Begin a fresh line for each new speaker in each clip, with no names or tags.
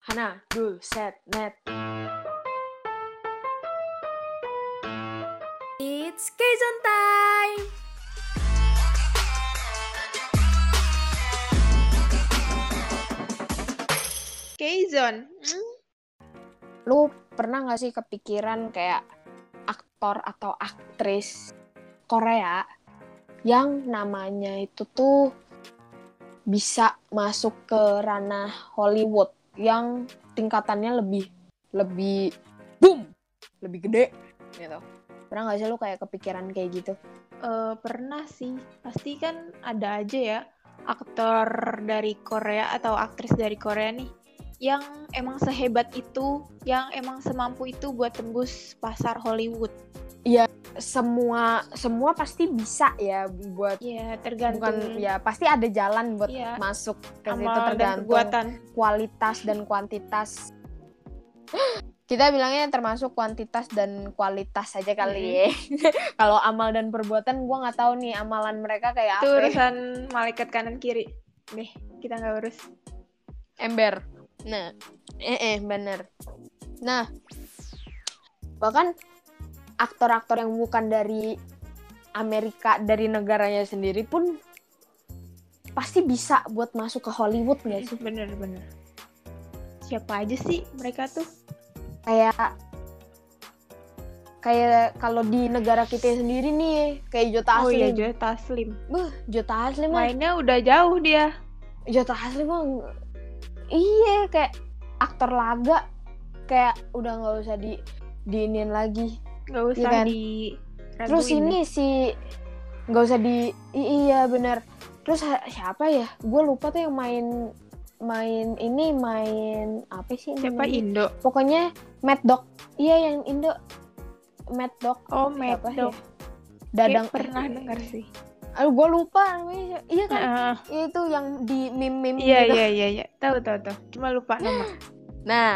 Hana, dul, set, net.
It's Kaizon time!
K-Zone. Mm.
Lu pernah nggak sih kepikiran kayak aktor atau aktris Korea yang namanya itu tuh bisa masuk ke ranah Hollywood yang tingkatannya lebih lebih boom, lebih gede gitu. Pernah nggak sih lu kayak kepikiran kayak gitu?
Eh, pernah sih. Pasti kan ada aja ya aktor dari Korea atau aktris dari Korea nih yang emang sehebat itu, yang emang semampu itu buat tembus pasar Hollywood.
Semua semua pasti bisa ya buat
Ya,
bukan
tergantung
ya pasti ada jalan buat
Iya.
masuk ke situ
amal dan
tergantung
perbuatan.
kualitas dan kuantitas. Kita bilangnya termasuk kuantitas dan kualitas aja
Mm-hmm.
kali ya. Kalau amal dan perbuatan gua nggak tahu nih amalan mereka kayak apa.
Itu
ya.
urusan malaikat kanan kiri. Deh, kita nggak urus.
Ember. Nah, eh eh bener. Nah, bahkan aktor-aktor yang bukan dari Amerika dari negaranya sendiri pun pasti bisa buat masuk ke Hollywood nggak Iya sih?
Bener-bener. Siapa aja sih mereka tuh?
kayak kayak kalau di negara kita sendiri nih kayak Jota
Oh iya,
Aslim.
Joe Taslim.
Beuh, Jota Aslim mah.
Mainnya udah jauh dia.
Jota Aslim mah. Iya kayak aktor laga kayak udah nggak usah di diinin lagi.
Nggak usah
kan?
di
Terus ini si nggak usah di i- iya bener. Terus ha- siapa ya? Gue lupa tuh yang main main ini main apa sih
siapa
namanya?
Indo?
Pokoknya Mad Dog. Iya yang Indo Mad Dog
Oh,
Siapa ya?
Mad Dog.
Dadang
Kayak Iya, pernah dengar sih.
Aduh gue lupa namanya. Iya kan?
Heeh.
Itu yang di meme-meme
Iya
gitu.
iya iya iya. Tahu tahu tahu. Cuma lupa nama.
Nah,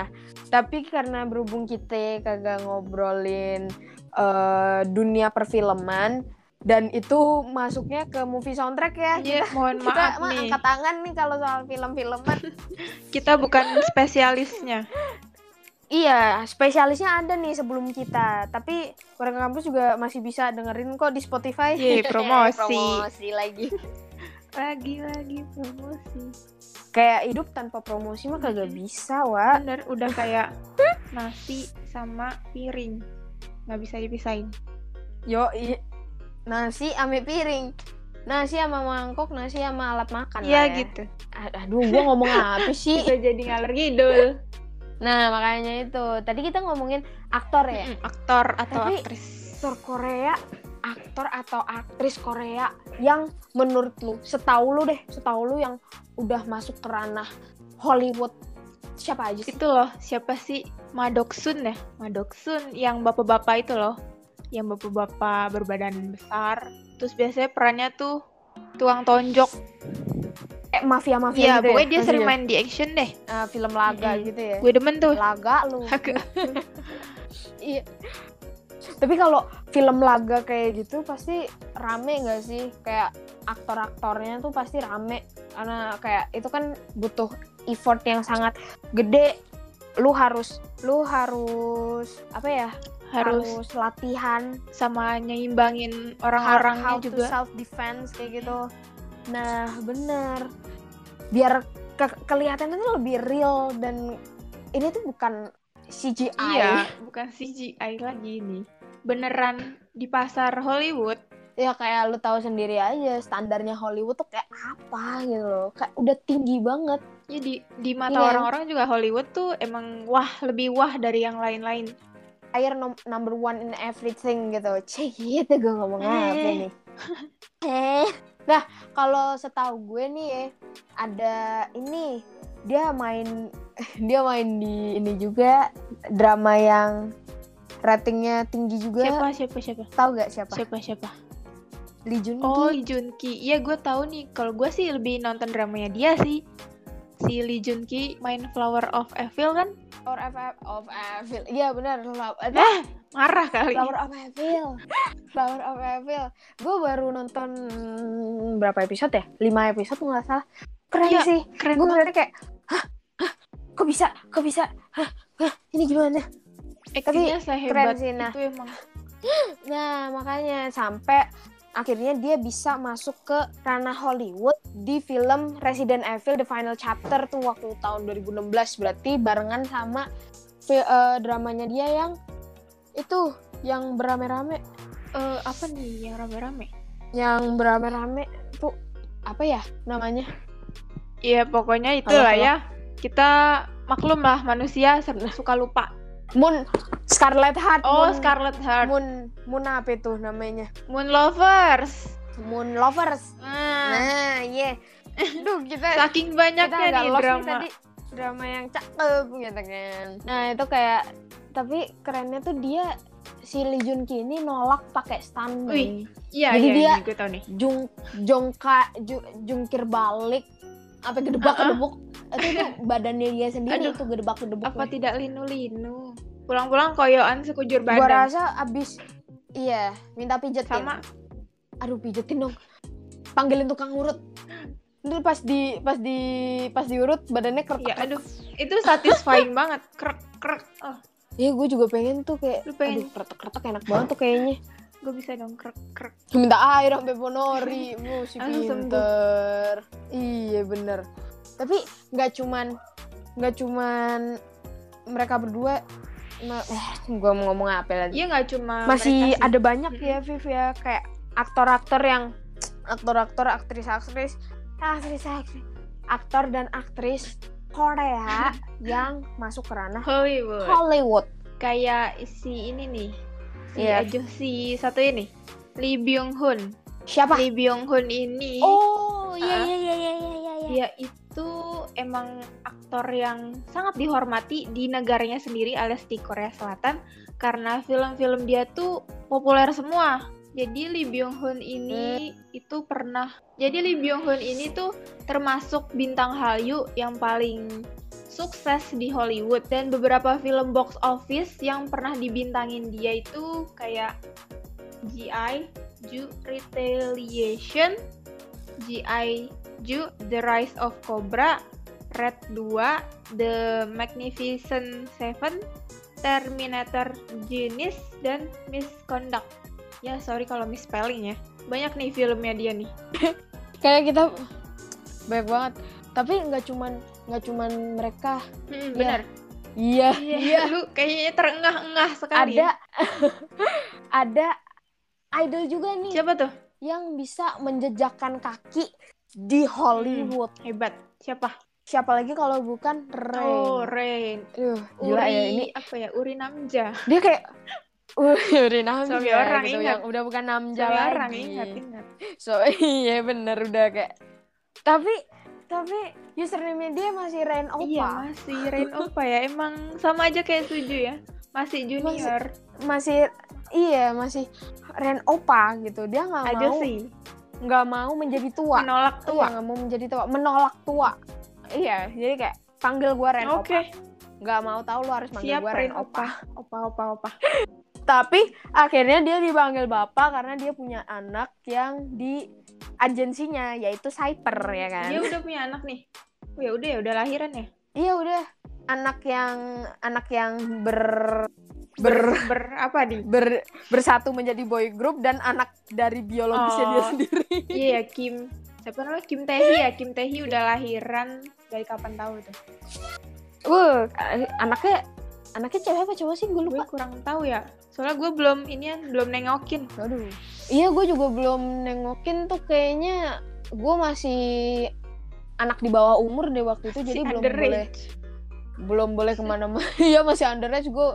tapi karena berhubung kita kagak ngobrolin eh, dunia perfilman dan itu masuknya ke movie soundtrack ya.
Iya, mohon
Kita
maaf
mah
nih.
angkat tangan nih kalau soal film-filman.
Kita bukan spesialisnya.
iya, spesialisnya ada nih sebelum kita. Tapi warga kampus juga masih bisa dengerin kok di Spotify.
Yeay, Iya, promosi.
promosi lagi.
Lagi lagi promosi.
Kayak hidup tanpa promosi mah kagak bisa, Wak.
Bener udah kayak nasi sama piring. Nggak bisa dipisahin.
Yo, nasi ame piring. Nasi sama mangkok, nasi sama alat makan. lah
Iya
ya.
gitu.
A- Aduh, gua ngomong apa sih?
Bisa jadi ngalor ngidul.
Nah, makanya itu. Tadi kita ngomongin aktor ya.
Mm-mm, Aktor atau
Tapi-
aktris.
Aktor Korea, aktor atau aktris Korea yang menurut lu, setahu lu deh, setahu lu yang udah masuk ke ranah Hollywood siapa aja sih?
Itu loh, siapa sih? Madoksun ya? Madoksun yang bapak-bapak itu loh. Yang bapak-bapak berbadan besar. Terus biasanya perannya tuh tuang tonjok.
Kayak mafia-mafia gitu.
Iya,
ya?
pokoknya dia
Masih
sering
ya?
main di action deh.
Eh, film laga
Mm-mm.
gitu ya.
Gue demen tuh.
Laga lu.
Agak.
Iya. Tapi kalau film laga kayak gitu pasti rame nggak sih? Kayak aktor-aktornya tuh pasti rame karena kayak itu kan butuh effort yang sangat gede. Lu harus lu harus apa ya?
Harus
latihan
sama nyimbangin orang-orangnya
how
juga.
to self defense kayak gitu. Nah, bener. Biar ke- kelihatannya tuh lebih real dan ini tuh bukan CGI.
Iya, bukan CGI lagi ini. Beneran di pasar Hollywood.
ya kayak lu tahu sendiri aja standarnya Hollywood tuh kayak apa gitu loh kayak udah tinggi banget
Ya di, di mata
Iya.
orang-orang juga Hollywood tuh emang wah, lebih wah dari yang lain-lain.
air nom- number one in everything gitu Cih, gitu gue ngomong apa
Eh.
nih eh nah kalau setahu gue nih ya, ada ini dia main dia main di ini juga drama yang ratingnya tinggi juga
Siapa siapa siapa?
tahu gak siapa
Siapa siapa?
Lee Jun Ki
Oh, Lee Jun Ki. Iya, gue tahu nih. Kalau gue sih lebih nonton dramanya dia sih. Si Lee Jun Ki main Flower of Evil kan?
or FF of Evil iya benar Love-
Eh? Marah kali.
Flower of Evil. Flower of Evil. Gue baru nonton berapa episode ya? 5 episode nggak salah. Keren
Iya,
sih.
Keren
Gue
banget.
ngeliatnya kayak, hah, hah, kok bisa kok bisa hah, hah, ini gimana
Actingnya sehebat
sih, nah.
itu emang.
nah makanya sampai akhirnya dia bisa masuk ke ranah Hollywood di film Resident Evil The Final Chapter tuh waktu tahun 2016 berarti barengan sama fi- eh, dramanya dia yang itu yang berame-rame
Eh, apa nih yang rame-rame?
yang berame-rame tuh apa ya namanya
Iya pokoknya
itulah
itulah ya. Kita maklum lah manusia suka lupa.
Moon Scarlet Heart
Oh
Moon-
Scarlet Heart,
Moon Moon apa itu namanya
Moon Lovers.
Moon Lovers
Nah,
nah iya duh kita
saking banyaknya
agak
nih
lost
drama.
tadi drama yang cakep gitu kan nah itu kayak tapi kerennya tuh dia si Lee Jun Ki ini nolak pakai
Wih.
stuntman
Iya
Jadi
iya
dia-
ini gue tau nih.
jung jongka ju- jungkir balik apa gedebak gedebuk itu tuh badannya dia sendiri
Aduh.
itu gedebak gedebuk
Apa tidak linu-linu? Pulang-pulang koyoan sekujur
gua
badan.
rasa ya. abis iya minta pijetin
Sama
aduh pijetin dong panggilin tukang urut Ntar pas di pas di pas diurut badannya kertek
ya aduh itu satisfying banget krek krek oh
Iya gue juga pengen tuh kayak
Lu pengen?
Aduh kretek-kretek enak banget tuh kayaknya
gue bisa dong krek krek
Minta air sampai ponori Mu si
Langsung sembuh.
pinter Iya bener Tapi nggak cuman nggak cuman mereka berdua ma- eh, Gue mau ngomong apa lagi
iya nggak cuma
Masih
mereka sih.
ada banyak
Mm-mm.
ya Viv ya Kayak aktor-aktor yang Aktor-aktor, aktris-aktris Aktris-aktris Aktor dan aktris Korea yang masuk ke ranah
Hollywood
Hollywood
kayak si ini nih si
Iya.
aja si satu ini Lee Byung Hun
Siapa?
Lee Byung Hun ini
Oh iya
Ah.
iya iya iya iya iya, iya.
dia itu emang aktor yang sangat dihormati di negaranya sendiri alias di Korea Selatan karena film-film dia tuh populer semua. Jadi Lee Byung Hun ini itu pernah jadi Lee Byung Hun ini tuh termasuk bintang Hallyu yang paling sukses di Hollywood dan beberapa film box office yang pernah dibintangin dia itu kayak GI Ju Retaliation, GI Ju, The Rise of Cobra, Red 2, The Magnificent Seven, Terminator Genis, dan Misconduct. Ya, sorry kalau misspelling ya. Banyak nih filmnya dia nih.
Kayak kita banyak banget. Tapi nggak cuman nggak cuman mereka. Iya.
Hmm, bener.
Iya.
Iya, lu kayaknya terengah-engah sekali.
Ada ada idol juga nih
Siapa tuh?
yang bisa menjejakkan kaki di Hollywood.
Hebat. Siapa?
Siapa lagi kalau bukan Rain.
Oh, Rain.
Aduh,
Uri,
gila ya ini.
apa ya? Uri Namja.
Dia kayak Uri Namja
Suami orang,
gitu,
ingat.
yang udah bukan Namja
Jangan
lagi.
orang, ingat, ingat.
So iya bener udah kayak. Tapi tapi username dia masih Rain Opa.
Iya, masih Rain Opa ya. Emang sama aja kayak Suju ya. Masih junior.
masih iya masih Ren Opa gitu dia nggak
aja
mau
sih.
nggak mau menjadi tua
Menolak
Iya, tua
tua.
nggak mau menjadi tua menolak tua iya jadi kayak panggil gua Ren Opa
Oke,
nggak mau tahu lu harus panggil
siap
gua Ren Opa
Opa, opa, opa.
tapi akhirnya dia dipanggil bapak karena dia punya anak yang di agensinya yaitu Cyper ya kan
Dia udah punya anak nih. Oh ya udah ya, udah lahiran ya.
iya udah anak yang anak yang ber ber
ber apa di?
ber- bersatu menjadi boy group dan anak dari biologisnya
Oh.
dia sendiri.
Iya ya, Kim. Siapa namanya Kim Taehi ya? Kim Taehi udah lahiran dari kapan tahu tuh?
Wuh, anaknya anaknya cewek apa cowok sih gue
Gue
lupa.
kurang tahu ya. Soalnya gue belum ini ya, belum nengokin.
Aduh. Iya, gue juga belum nengokin tuh kayaknya gue masih anak di bawah umur deh waktu itu jadi
Si
belum
underage.
boleh belum boleh kemana-mana iya masih underage gue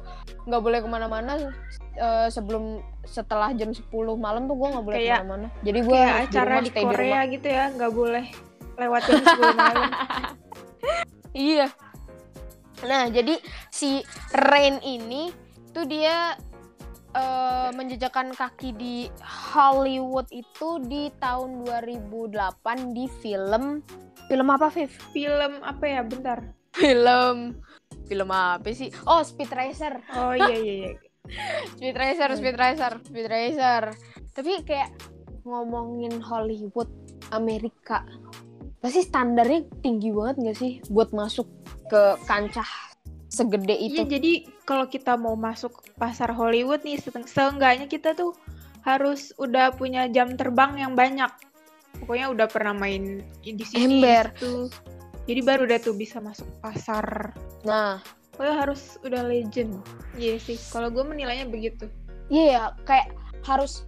nggak boleh kemana-mana eh, sebelum setelah jam 10 malam tuh gue nggak boleh
Kayak-
kemana-mana jadi gue
Kayak
harus
acara
rumah,
di
stay rumah.
Korea gitu ya, nggak boleh lewat jam 10 malam.
Iya. Nah, jadi si Rain ini tuh dia eh, menjejakkan kaki di Hollywood itu di tahun 2008 di film film apa, Viv?
Film apa ya? Bentar.
Film film apa sih? Oh, Speed Racer.
Oh iya iya iya.
Speed Racer, Speed Racer, Speed Racer. Tapi kayak ngomongin Hollywood Amerika pasti standarnya tinggi banget gak sih buat masuk ke kancah segede itu
Iya, jadi kalau kita mau masuk ke pasar Hollywood nih, seteng- seenggaknya kita tuh harus udah punya jam terbang yang banyak. Pokoknya udah pernah main di sini,
Ember.
di situ. Jadi baru udah tuh bisa masuk pasar.
nah
Pokoknya harus udah legend. Iya sih, kalau gue menilainya begitu.
Iya ya, kayak harus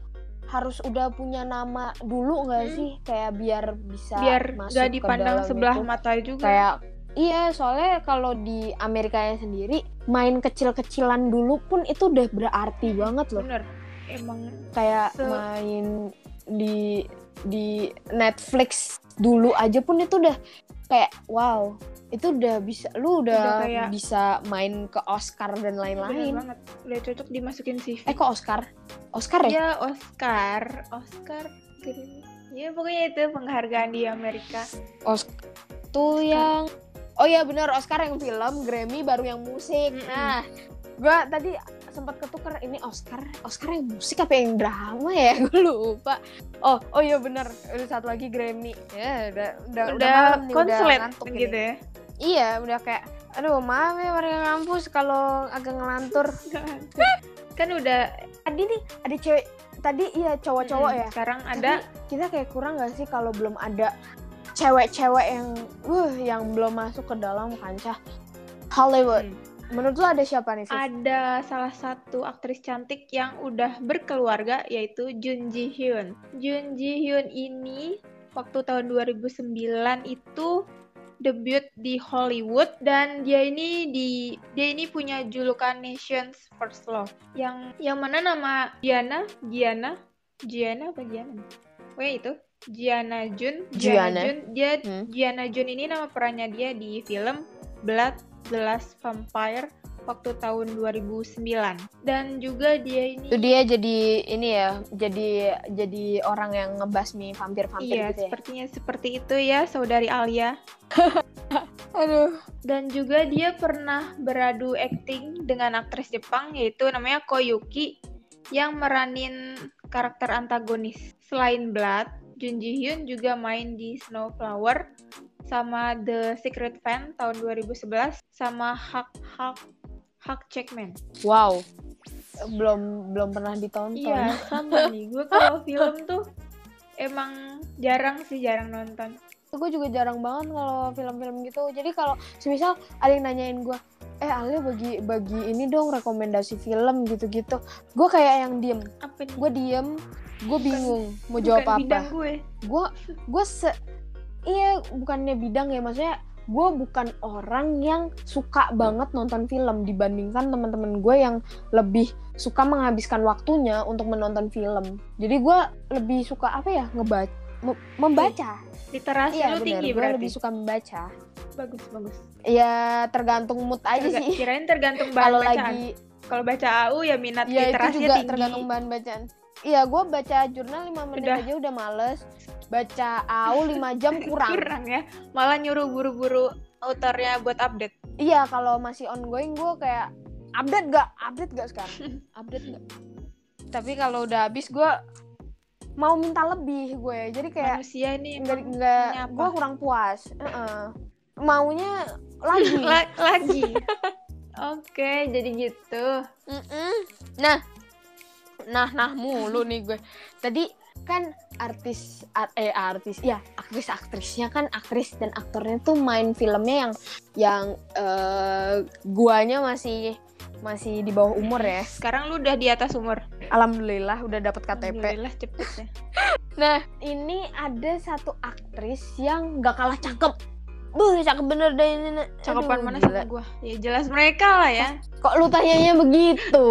harus udah punya nama dulu nggak
Hmm.
sih kayak biar bisa
Biar
masuk
gak
ke
dipandang
dalam
sebelah
itu.
mata juga.
kayak iya soalnya kalau di Amerikanya sendiri main kecil-kecilan dulu pun itu udah berarti banget loh
Bener. Emang
kayak
Se-
main di di Netflix dulu aja pun itu udah kayak wow itu udah bisa lu udah,
Udah kayak-
bisa main ke Oscar dan
bener
lain-lain
banget. Udah cocok dimasukin CV.
eh kok Oscar Oscar ya
Ya Oscar, Oscar Grammy. Ya pokoknya itu penghargaan di Amerika.
Oscar tuh yang oh ya bener Oscar yang film Grammy baru yang musik
Mm-mm.
nah gua tadi sempat ketuker ini Oscar Oscar yang musik apa yang drama ya gue lupa oh oh iya bener Udah satu lagi Grammy ya udah udah
udah,
malam nih,
konslet
ngantuk ini.
gitu ya.
iya udah kayak aduh maaf ya warga kampus kalau agak ngelantur
kan udah
tadi nih ada cewek tadi iya cowok-cowok
Mm,
ya
Sekarang ada
Tapi kita kayak kurang gak sih kalau belum ada cewek-cewek yang uh yang belum masuk ke dalam kancah Hollywood.
Hmm.
Menurut lo ada siapa nih? Fif?
ada salah satu aktris cantik yang udah berkeluarga yaitu Jun Ji Hyun. Jun Ji Hyun ini waktu tahun 2009 itu debut di Hollywood dan dia ini di dia ini punya julukan Nations First Love yang yang mana nama Diana Diana Giana apa Giana? Pokoknya itu Giana Jun
Gianna.
Jun dia
Hmm.
Gianna Jun ini nama perannya dia di film Blood The Last Vampire waktu tahun 2009 dan juga dia ini
Itu dia jadi ini ya, jadi jadi orang yang ngebasmi vampir-vampir
iya
gitu ya.
sepertinya seperti itu ya saudari Alia
Aduh.
dan juga dia pernah beradu akting dengan aktris Jepang yaitu namanya Koyuki yang meranin karakter antagonis selain Blood Jun Ji Hyun juga main di Snowflower sama The Secret Fan tahun 2011 sama Hak Hak Hak Checkman
Wow. Belum belum pernah ditonton.
Iya, sama nih. Gue kalau film tuh emang jarang sih jarang nonton.
gue juga jarang banget kalau film-film gitu jadi kalau semisal ada yang nanyain gue eh Ale bagi bagi ini dong rekomendasi film gitu-gitu gue kayak yang diem
Apa nih?
gue diem gue bingung mau
Bukan
jawab apa
bidang gue.
gue gue se iya bukannya bidang ya maksudnya gue bukan orang yang suka banget nonton film dibandingkan teman-teman gue yang lebih suka menghabiskan waktunya untuk menonton film jadi gue lebih suka apa ya ngebaca membaca
Literasi
Iya
lu
bener,
tinggi
gue
berarti.
lebih suka membaca.
Bagus bagus.
Ya tergantung mood aja
Terga-
sih.
Kirain tergantung bahan
Kalau
bacaan.
lagi
Kalau baca AU ya minat
ya itu
literasinya
juga
tinggi.
tergantung bahan bacaan. Iya gue baca jurnal 5 menit
Udah.
aja udah males. Baca AU 5 jam kurang.
Kurang ya. Malah nyuruh buru-buru autornya buat update.
Iya kalau masih ongoing gue kayak update gak? Update gak sekarang? Update gak? Tapi kalau udah habis gue mau minta lebih gue jadi kayak
Manusia ini
nggak
emang
nggak
punya apa?
gue kurang puas Heeh. maunya lagi
La- lagi.
Iya.
Oke, jadi gitu.
Mm-mm. Nah, nah, nah mulu nih gue. Tadi kan artis, ar- eh artis, ya aktris aktrisnya kan aktris dan aktornya tuh main filmnya yang yang eh, guanya masih masih di bawah umur ya.
Sekarang lu udah di atas umur.
Alhamdulillah udah dapat KTP.
Alhamdulillah cepet ya.
Nah, ini ada satu aktris yang gak kalah cakep. Buh, cakep bener deh ini. Nek. Aduh,
Cakupan mana
gila.
sama gue? Ya jelas mereka lah ya.
Kok lu tanyanya begitu?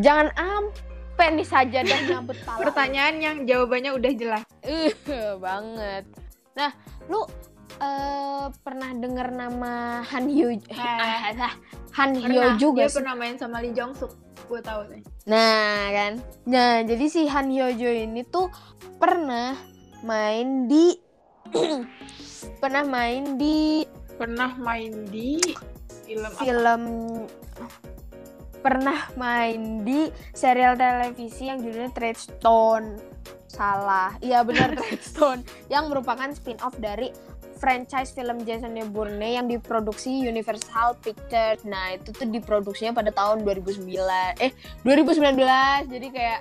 Jangan ampe nih saja dan nyambut pala. lu.
Pertanyaan yang jawabannya udah jelas.
Eh, banget. Nah, lu eh, pernah dengar nama Han Hyo
Eh,
Ah, Han Hyo juga
dia
sih.
pernah main sama Lee Jong Suk. Gue tahu nih.
Nah, kan. Nah, jadi si Han Hyo Jo ini tuh pernah main di pernah main di
Pernah main di film apa?
film pernah main di serial televisi yang judulnya Treadstone salah iya benar Treadstone yang merupakan spin off dari franchise film Jason Bourne yang diproduksi Universal Pictures. Nah, itu tuh diproduksinya pada tahun 2009. Eh, 2019. Jadi kayak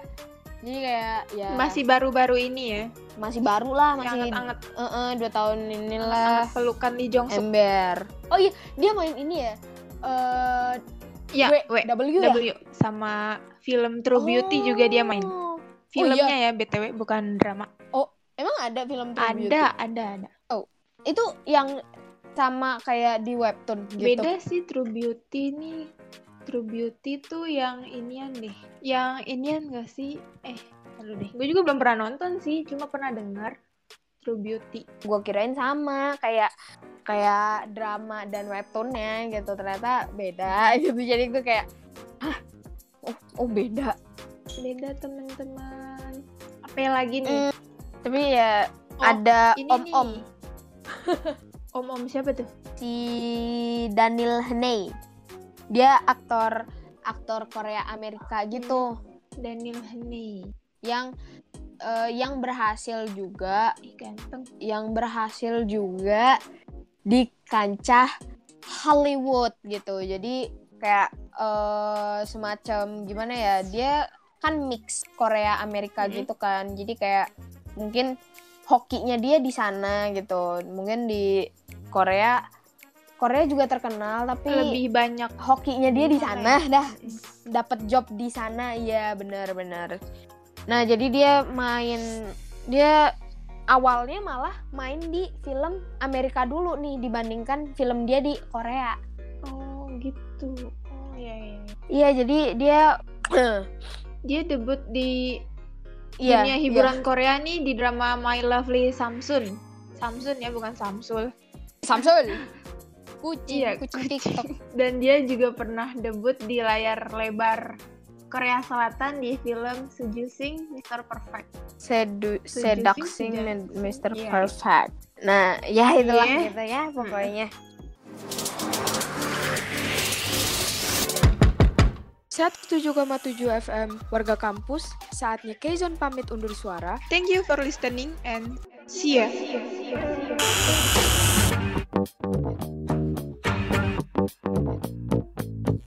jadi kayak ya
Masih baru-baru ini ya.
masih baru lah,
Yang
masih
anget-anget
eh, eh, dua tahun inilah
anget pelukan di Jongsook.
ember. Oh iya, dia main ini ya. Eh
Ya,
W-
W.
W ya?
W sama film True Beauty juga dia main.
Oh.
Filmnya ya BTW bukan drama.
Emang ada film True
ada,
Beauty?
ada, ada.
Itu yang sama kayak di webtoon gitu.
Beda sih True Beauty nih. True Beauty tuh yang inian deh. Yang inian gak sih? Eh, aduh deh. Gue juga belum pernah nonton sih, cuma pernah dengar True Beauty.
Gua kirain sama kayak kayak drama dan webtoonnya gitu ternyata beda gitu jadi gue kayak ah oh, oh beda
Beda teman-teman. Apa yang lagi
Hmm,
nih?
tapi ya
Oh,
ada
Ini
om om
nih. Om-om siapa tuh?
si Daniel Haney dia aktor aktor Korea Amerika gitu
Hmm. Daniel Haney.
yang eh, yang berhasil juga
Ih, ganteng.
yang berhasil juga di kancah Hollywood gitu. Jadi kayak eh, semacam gimana ya? Dia kan mix Korea Amerika
Mm-mm.
gitu kan. Jadi kayak mungkin hokinya dia di sana gitu. Mungkin di Korea Korea juga terkenal tapi
Lebih banyak
hokinya dia di
Di sana
sana dah dapat job di sana iya benar-benar nah jadi dia main dia awalnya malah main di film Amerika dulu nih dibandingkan film dia di Korea
Oh gitu. Oh iya iya.
iya jadi dia
Dia debut di
iya
dunia hiburan Korea nih di drama My Lovely Samsun. Samsun ya bukan Samsul.
iya. Samsul kucing
Iya,
kucing TikTok
Dan dia juga pernah debut di layar lebar Korea Selatan di film Seducing Mr. Perfect.
Sedu-
Seducing,
seducing
seducing,
Mr.
iya.
Perfect nah ya itulah
Iya.
gitu ya pokoknya
Saatnya Keizon pamit undur suara.
Thank you for Iya, listening and see ya.